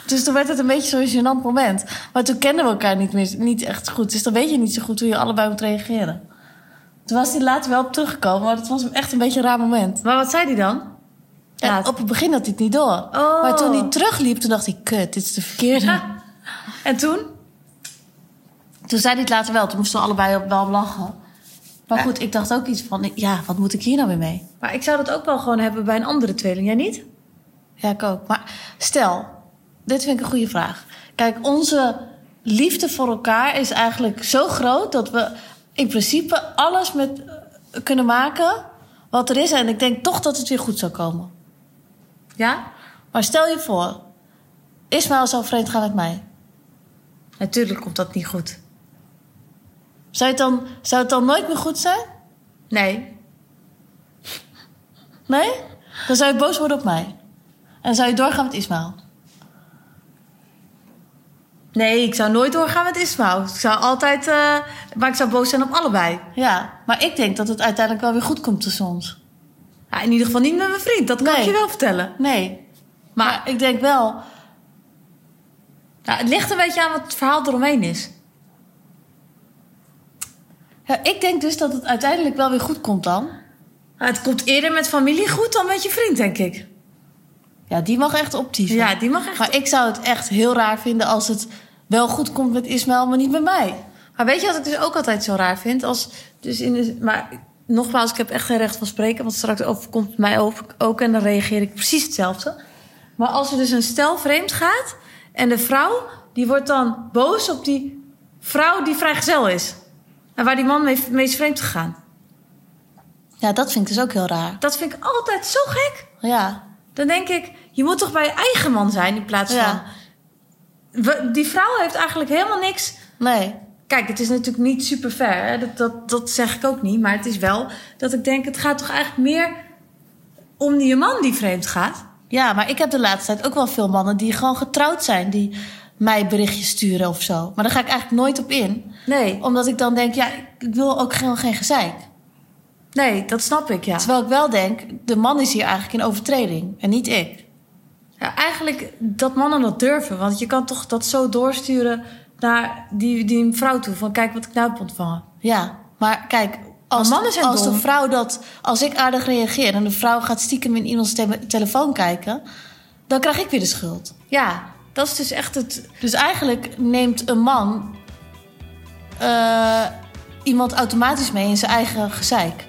[SPEAKER 1] Dus toen werd het een beetje zo'n gênant moment. Maar toen kenden we elkaar niet, meer, niet echt goed. Dus dan weet je niet zo goed hoe je allebei moet reageren. Toen was hij later wel op teruggekomen, maar dat was echt een beetje een raar moment.
[SPEAKER 2] Maar wat zei die dan?
[SPEAKER 1] En
[SPEAKER 2] Laat.
[SPEAKER 1] op het begin had hij het niet door.
[SPEAKER 2] Oh.
[SPEAKER 1] Maar toen hij terugliep, toen dacht ik, kut, dit is de verkeerde.
[SPEAKER 2] Ja. En toen?
[SPEAKER 1] Toen zei hij het later wel, toen moesten we allebei op- wel om lachen. Maar goed, ik dacht ook iets van, ja, wat moet ik hier nou weer mee?
[SPEAKER 2] Maar ik zou dat ook wel gewoon hebben bij een andere tweeling. Jij niet?
[SPEAKER 1] Ja, ik ook. Maar stel, dit vind ik een goede vraag. Kijk, onze liefde voor elkaar is eigenlijk zo groot... dat we in principe alles met eh, kunnen maken wat er is. En ik denk toch dat het weer goed zou komen.
[SPEAKER 2] Ja?
[SPEAKER 1] Maar stel je voor, Ismaël zou vreemd gaan met mij.
[SPEAKER 2] Natuurlijk komt dat niet goed.
[SPEAKER 1] Zou het dan, zou het dan nooit meer goed zijn?
[SPEAKER 2] Nee.
[SPEAKER 1] Nee? Dan zou je boos worden op mij. En dan zou je doorgaan met Ismaël.
[SPEAKER 2] Nee, ik zou nooit doorgaan met Ismaël. Ik zou altijd... eh, maar ik zou boos zijn op allebei.
[SPEAKER 1] Ja, maar ik denk dat het uiteindelijk wel weer goed komt tussen ons.
[SPEAKER 2] Ja, in ieder geval niet met mijn vriend. Dat kan
[SPEAKER 1] Nee.
[SPEAKER 2] ik je wel vertellen.
[SPEAKER 1] Nee. Maar ik denk wel...
[SPEAKER 2] Ja, het ligt een beetje aan wat het verhaal eromheen is.
[SPEAKER 1] Ja, ik denk dus dat het uiteindelijk wel weer goed komt dan.
[SPEAKER 2] Nou, het komt eerder met familie goed dan met je vriend, denk ik.
[SPEAKER 1] Ja, die mag echt optieven.
[SPEAKER 2] Ja, die mag echt.
[SPEAKER 1] Maar ik zou het echt heel raar vinden als het wel goed komt met Ismaël, maar niet met mij.
[SPEAKER 2] Maar weet je wat ik dus ook altijd zo raar vind? Als, dus in de, maar nogmaals, ik heb echt geen recht van spreken, want straks overkomt het mij ook, ook en dan reageer ik precies hetzelfde. Maar als er dus een stel vreemd gaat en de vrouw die wordt dan boos op die vrouw die vrijgezel is. En waar die man mee, mee is vreemd gegaan.
[SPEAKER 1] Ja, dat vind ik dus ook heel raar.
[SPEAKER 2] Dat vind ik altijd zo gek.
[SPEAKER 1] Ja.
[SPEAKER 2] Dan denk ik, je moet toch bij je eigen man zijn in plaats
[SPEAKER 1] Ja.
[SPEAKER 2] van... We- die vrouw heeft eigenlijk helemaal niks
[SPEAKER 1] Nee.
[SPEAKER 2] Kijk, het is natuurlijk niet super fair. hè. Dat, dat, dat zeg ik ook niet. Maar het is wel dat ik denk, het gaat toch eigenlijk meer om die man die vreemd gaat.
[SPEAKER 1] Ja, maar ik heb de laatste tijd ook wel veel mannen die gewoon getrouwd zijn. Die mij berichtjes sturen of zo. Maar daar ga ik eigenlijk nooit op in.
[SPEAKER 2] Nee.
[SPEAKER 1] Omdat ik dan denk, ja, ik wil ook gewoon geen gezeik.
[SPEAKER 2] Nee, dat snap ik, ja.
[SPEAKER 1] Terwijl ik wel denk, de man is hier eigenlijk in overtreding. En niet ik.
[SPEAKER 2] ja. Eigenlijk dat mannen dat durven. Want je kan toch dat zo doorsturen naar die, die vrouw toe. Van kijk wat ik nou heb ontvangen.
[SPEAKER 1] Ja, maar kijk, als,
[SPEAKER 2] Maar mannen zijn
[SPEAKER 1] als de
[SPEAKER 2] dom.
[SPEAKER 1] vrouw dat... Als ik aardig reageer en de vrouw gaat stiekem in iemands te- telefoon kijken... dan krijg ik weer de schuld.
[SPEAKER 2] Ja, dat is dus echt het...
[SPEAKER 1] Dus eigenlijk neemt een man... eh, iemand automatisch mee in zijn eigen gezeik.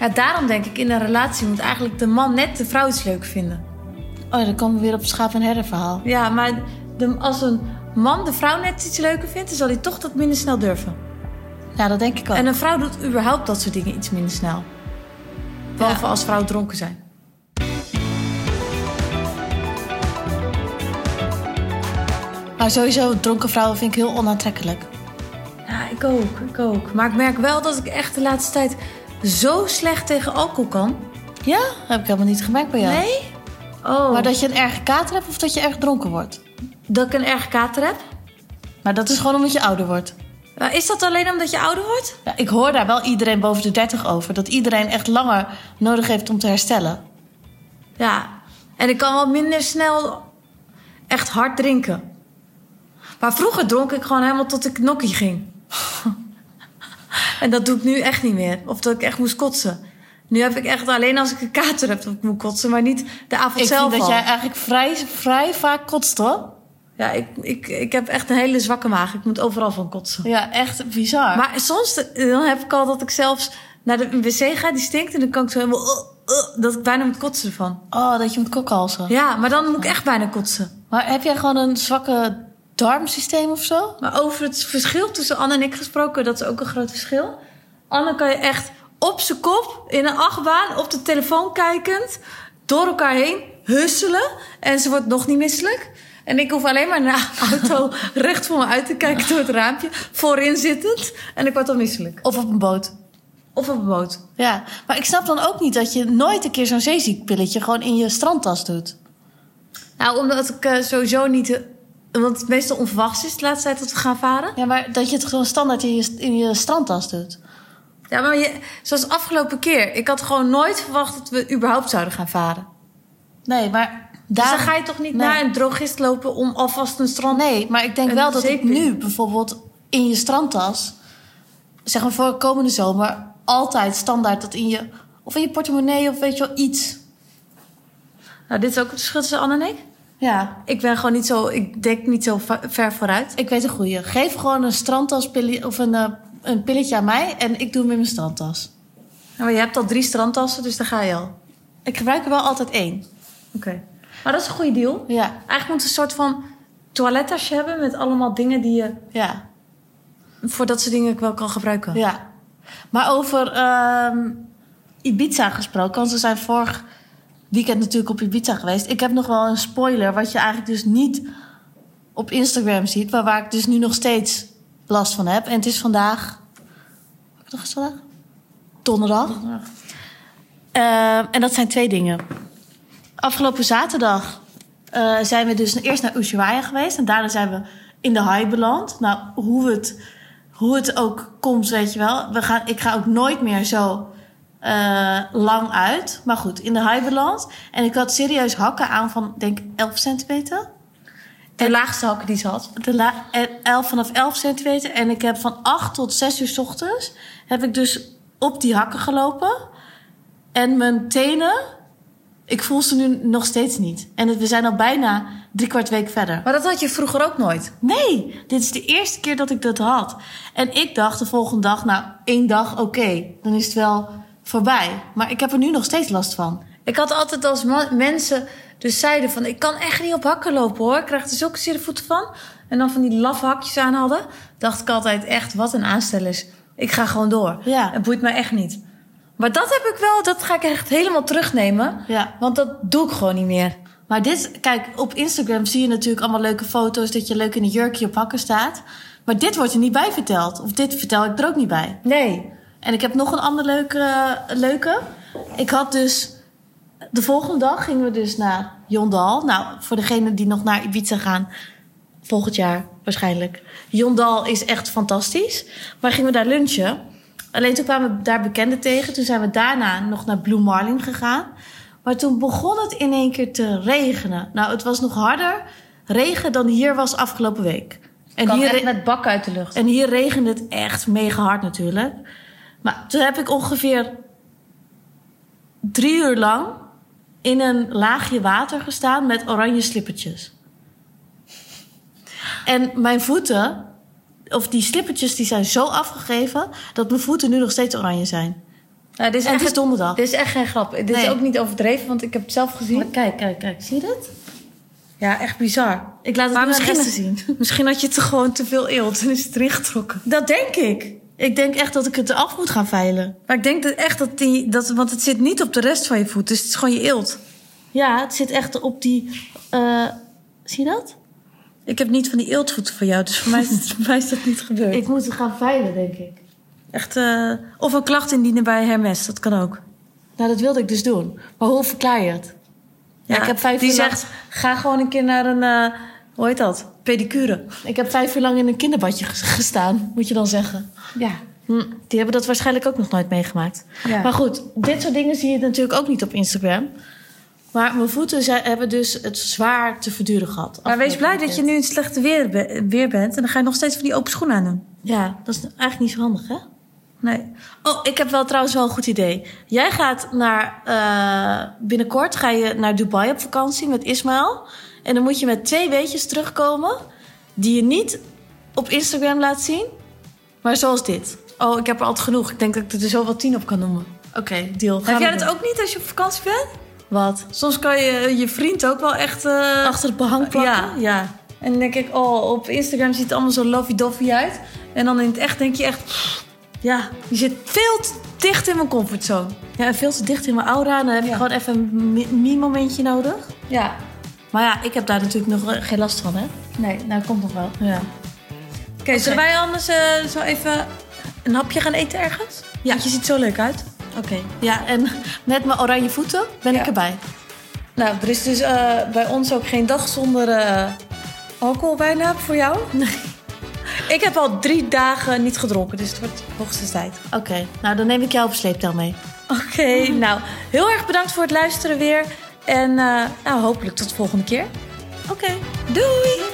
[SPEAKER 2] Ja, daarom denk ik, in een relatie moet eigenlijk de man net de vrouw iets leuk vinden.
[SPEAKER 1] Oh, ja, dan komen we weer op het schaap- en herdenverhaal.
[SPEAKER 2] Ja, maar de, als een man de vrouw net iets leuker vindt... dan zal hij toch dat minder snel durven.
[SPEAKER 1] Ja, dat denk ik ook.
[SPEAKER 2] En een vrouw doet überhaupt dat soort dingen iets minder snel. Behalve
[SPEAKER 1] Ja.
[SPEAKER 2] als vrouwen dronken zijn.
[SPEAKER 1] Maar sowieso, dronken vrouwen vind ik heel onaantrekkelijk.
[SPEAKER 2] Ja, ik ook, ik ook. Maar ik merk wel dat ik echt de laatste tijd zo slecht tegen alcohol kan.
[SPEAKER 1] Ja? heb ik helemaal niet gemerkt bij jou.
[SPEAKER 2] Nee? Oh,
[SPEAKER 1] Maar
[SPEAKER 2] dat,
[SPEAKER 1] dat je een erge kater hebt of dat je erg dronken wordt?
[SPEAKER 2] dat ik een erg kater heb?
[SPEAKER 1] Maar dat is gewoon omdat je ouder wordt.
[SPEAKER 2] Maar Is dat alleen omdat je ouder wordt?
[SPEAKER 1] Ja, ik hoor daar wel iedereen boven de 30 over. Dat iedereen echt langer nodig heeft om te herstellen.
[SPEAKER 2] Ja. En ik kan wat minder snel echt hard drinken. Maar vroeger dronk ik gewoon helemaal tot ik nokkie ging. en dat doe ik nu echt niet meer. Of dat ik echt moest kotsen. Nu heb ik echt alleen als ik een kater heb dat ik moet kotsen, maar niet de avond
[SPEAKER 1] Ik
[SPEAKER 2] zelf
[SPEAKER 1] vind dat
[SPEAKER 2] al.
[SPEAKER 1] jij eigenlijk vrij, vrij vaak kotst, hoor.
[SPEAKER 2] Ja, ik, ik, ik heb echt een hele zwakke maag. Ik moet overal van kotsen.
[SPEAKER 1] Ja, echt bizar.
[SPEAKER 2] Maar soms eh, dan heb ik al dat ik zelfs naar de wc ga, die stinkt. En dan kan ik zo helemaal... eh, eh, dat ik bijna moet kotsen ervan.
[SPEAKER 1] oh, dat je moet kokhalzen.
[SPEAKER 2] Ja, maar dan moet ik echt bijna kotsen.
[SPEAKER 1] Maar heb jij gewoon een zwakke darmsysteem of zo?
[SPEAKER 2] Maar over het verschil tussen Anne en ik gesproken, dat is ook een groot verschil. Anne kan je echt op zijn kop, in een achtbaan, op de telefoon kijkend, door elkaar heen husselen. En ze wordt nog niet misselijk. En ik hoef alleen maar naar de auto recht voor me uit te kijken door het raampje, voorin zittend. En ik word al misselijk.
[SPEAKER 1] Of op een boot?
[SPEAKER 2] Of op een boot.
[SPEAKER 1] Ja, maar ik snap dan ook niet dat je nooit een keer zo'n zeeziekpilletje gewoon in je strandtas doet.
[SPEAKER 2] Nou, omdat ik eh, sowieso niet. eh, want het meestal onverwachts is de laatste tijd dat we gaan varen.
[SPEAKER 1] Ja, maar dat je het gewoon standaard in je, in je strandtas doet.
[SPEAKER 2] Ja, maar je, zoals de afgelopen keer. Ik had gewoon nooit verwacht dat we überhaupt zouden gaan varen.
[SPEAKER 1] Nee, maar
[SPEAKER 2] Dus
[SPEAKER 1] daar
[SPEAKER 2] dan ga je toch niet
[SPEAKER 1] Nee.
[SPEAKER 2] naar een drogist lopen om alvast een strand.
[SPEAKER 1] Nee, maar ik denk
[SPEAKER 2] Een
[SPEAKER 1] wel dat ik
[SPEAKER 2] zeepje.
[SPEAKER 1] nu bijvoorbeeld in je strandtas... zeg maar voor komende zomer altijd standaard dat in je... of in je portemonnee of weet je wel, iets.
[SPEAKER 2] Nou, dit is ook het verschil tussen Anne en ik.
[SPEAKER 1] Ja,
[SPEAKER 2] Ik ben gewoon niet zo. Ik denk niet zo va- ver vooruit.
[SPEAKER 1] ik weet een goeie. Geef gewoon een strandtaspilletje of een, eh, een pilletje aan mij... en ik doe hem in mijn strandtas.
[SPEAKER 2] Ja, Maar je hebt al drie strandtassen, dus daar ga je al. Oké.
[SPEAKER 1] Ik gebruik er wel altijd één.
[SPEAKER 2] Maar dat is een goede deal.
[SPEAKER 1] Ja,
[SPEAKER 2] Eigenlijk moet je een soort van toilettasje hebben met allemaal dingen die je
[SPEAKER 1] ja,
[SPEAKER 2] voor dat soort dingen wel kan gebruiken.
[SPEAKER 1] ja. Maar over ehm, Ibiza gesproken, want we zijn vorig weekend natuurlijk op Ibiza geweest. Ik heb nog wel een spoiler, wat je eigenlijk dus niet op Instagram ziet, maar waar ik dus nu nog steeds last van heb. En het is vandaag. Wat dag is het vandaag? Donderdag. Ehm, en dat zijn twee dingen. Afgelopen zaterdag eh, zijn we dus eerst naar Ushuaia geweest. En daarna zijn we in de high beland. Nou, hoe het, hoe het ook komt, weet je wel. We gaan, ik ga ook nooit meer zo eh, lang uit. Maar goed, in de high beland. En ik had serieus hakken aan van, denk ik, 11 centimeter.
[SPEAKER 2] De laagste hakken die ze had.
[SPEAKER 1] De la- en 11 vanaf 11 centimeter. En ik heb van 8 tot 6 uur 's ochtends... heb ik dus op die hakken gelopen. En mijn tenen... ik voel ze nu nog steeds niet. En het- we zijn al bijna driekwart week verder.
[SPEAKER 2] Maar dat had je vroeger ook nooit.
[SPEAKER 1] Nee, dit is de eerste keer dat ik dat had. En ik dacht de volgende dag... nou, één dag, oké. dan is het wel voorbij. Maar ik heb er nu nog steeds last van.
[SPEAKER 2] Ik had altijd als ma- mensen dus zeiden van... ik kan echt niet op hakken lopen hoor. Ik krijg er zulke zere voeten van. En dan van die laffe hakjes aan hadden. Dacht ik altijd echt, wat een aanstellers. Ik ga gewoon door.
[SPEAKER 1] Ja.
[SPEAKER 2] Het boeit mij echt niet. Maar dat heb ik wel, dat ga ik echt helemaal terugnemen.
[SPEAKER 1] Ja.
[SPEAKER 2] Want dat doe ik gewoon niet meer.
[SPEAKER 1] Maar dit, kijk, op Instagram zie je natuurlijk allemaal leuke foto's dat je leuk in een jurkje op hakken staat. Maar dit wordt er niet bij verteld. Of dit vertel ik er ook niet bij.
[SPEAKER 2] Nee.
[SPEAKER 1] En ik heb nog een andere leuke. eh, leuke. Ik had dus. De volgende dag gingen we dus naar Jondal. Nou, voor degenen die nog naar Ibiza gaan. Volgend jaar waarschijnlijk. Jondal is echt fantastisch. Maar gingen we daar lunchen. Alleen toen kwamen we daar bekenden tegen. Toen zijn we daarna nog naar Blue Marlin gegaan. Maar toen begon het in één keer te regenen. Nou, het was nog harder regen dan hier was afgelopen week.
[SPEAKER 2] En
[SPEAKER 1] hier
[SPEAKER 2] hier
[SPEAKER 1] re-
[SPEAKER 2] met bakken uit de lucht.
[SPEAKER 1] en hier regende het echt mega hard natuurlijk. Maar toen heb ik ongeveer drie uur lang in een laagje water gestaan met oranje slippertjes. En mijn voeten, of die slippertjes, die zijn zo afgegeven dat mijn voeten nu nog steeds oranje zijn.
[SPEAKER 2] Ja, dit, is
[SPEAKER 1] En het
[SPEAKER 2] echt,
[SPEAKER 1] is donderdag.
[SPEAKER 2] dit is echt geen grap. Dit is
[SPEAKER 1] Nee.
[SPEAKER 2] ook niet overdreven, want ik heb het zelf
[SPEAKER 1] Maar
[SPEAKER 2] gezien.
[SPEAKER 1] kijk, kijk, kijk, zie je dat?
[SPEAKER 2] Ja, echt bizar.
[SPEAKER 1] Ik laat het
[SPEAKER 2] Maar
[SPEAKER 1] nu aan
[SPEAKER 2] misschien-
[SPEAKER 1] Esther zien.
[SPEAKER 2] Misschien had je het er gewoon te veel eelt en is het erin getrokken.
[SPEAKER 1] Dat denk ik. Ik denk echt dat ik het eraf moet gaan veilen.
[SPEAKER 2] Maar ik denk dat echt dat die... Dat, want het zit niet op de rest van je voet, dus het is gewoon je eelt.
[SPEAKER 1] Ja, het zit echt op die. eh, zie je dat?
[SPEAKER 2] Ik heb niet van die eeltvoeten van jou, dus voor mij is, het- voor mij is dat niet gebeurd.
[SPEAKER 1] Ik moet het gaan veilen, denk ik.
[SPEAKER 2] Echt, eh, of een klacht indienen bij Hermes, dat kan ook.
[SPEAKER 1] Nou, dat wilde ik dus doen. Maar hoe verklaar je het? Ja, ik heb vijf
[SPEAKER 2] die
[SPEAKER 1] uur lang-
[SPEAKER 2] zegt, ga gewoon een keer naar een... eh, hoe heet dat? Pedicure.
[SPEAKER 1] Ik heb vijf uur lang in een kinderbadje ges- gestaan, moet je dan zeggen.
[SPEAKER 2] Ja.
[SPEAKER 1] Hm, die hebben dat waarschijnlijk ook nog nooit meegemaakt.
[SPEAKER 2] Ja.
[SPEAKER 1] Maar goed, dit soort dingen zie je natuurlijk ook niet op Instagram. Maar mijn voeten zijn, hebben dus het zwaar te verduren gehad.
[SPEAKER 2] Maar wees
[SPEAKER 1] afgelopen
[SPEAKER 2] blij dat je
[SPEAKER 1] weekend.
[SPEAKER 2] nu in het slechte weer, be- weer bent. En dan ga je nog steeds van die open schoenen aan doen.
[SPEAKER 1] Ja, dat is eigenlijk niet zo handig, hè?
[SPEAKER 2] Nee.
[SPEAKER 1] Oh, ik heb wel trouwens wel een goed idee. Jij gaat naar, eh, binnenkort ga je naar Dubai op vakantie met Ismaël. En dan moet je met twee weetjes terugkomen die je niet op Instagram laat zien. Maar zoals dit.
[SPEAKER 2] Oh, ik heb er altijd genoeg. Ik denk dat ik er zo wel tien op kan noemen.
[SPEAKER 1] Oké, deal.
[SPEAKER 2] Heb jij dat
[SPEAKER 1] ook?
[SPEAKER 2] ook niet als je op vakantie bent?
[SPEAKER 1] Wat?
[SPEAKER 2] Soms kan je je vriend ook wel echt... eh,
[SPEAKER 1] Achter het behang plakken?
[SPEAKER 2] ja, ja. En dan denk ik, oh, op Instagram ziet het allemaal zo lovey-dovey uit. En dan in het echt denk je echt... pff, Ja, je zit veel te dicht in mijn comfortzone.
[SPEAKER 1] Ja, en veel te dicht in mijn aura. Dan heb je
[SPEAKER 2] Ja.
[SPEAKER 1] gewoon even een mi- mi-momentje nodig.
[SPEAKER 2] Ja.
[SPEAKER 1] Maar ja, ik heb daar natuurlijk nog eh, geen last van, hè?
[SPEAKER 2] Nee. Oké,
[SPEAKER 1] Nou, dat komt nog wel.
[SPEAKER 2] Ja. zullen wij anders eh, zo even een hapje gaan eten ergens?
[SPEAKER 1] Ja.
[SPEAKER 2] Want je ziet zo leuk uit.
[SPEAKER 1] Oké. Ja, en met mijn oranje voeten ben
[SPEAKER 2] Ja.
[SPEAKER 1] ik erbij.
[SPEAKER 2] Nou, er is dus eh, bij ons ook geen dag zonder eh, alcohol bijna voor jou. Nee. Ik heb al drie dagen niet gedronken, dus het wordt hoogste tijd.
[SPEAKER 1] Oké, nou dan neem ik jou op sleeptouw mee.
[SPEAKER 2] Oké, nou, heel erg bedankt voor het luisteren weer. En eh, nou, hopelijk tot de volgende keer.
[SPEAKER 1] Oké.
[SPEAKER 2] Doei!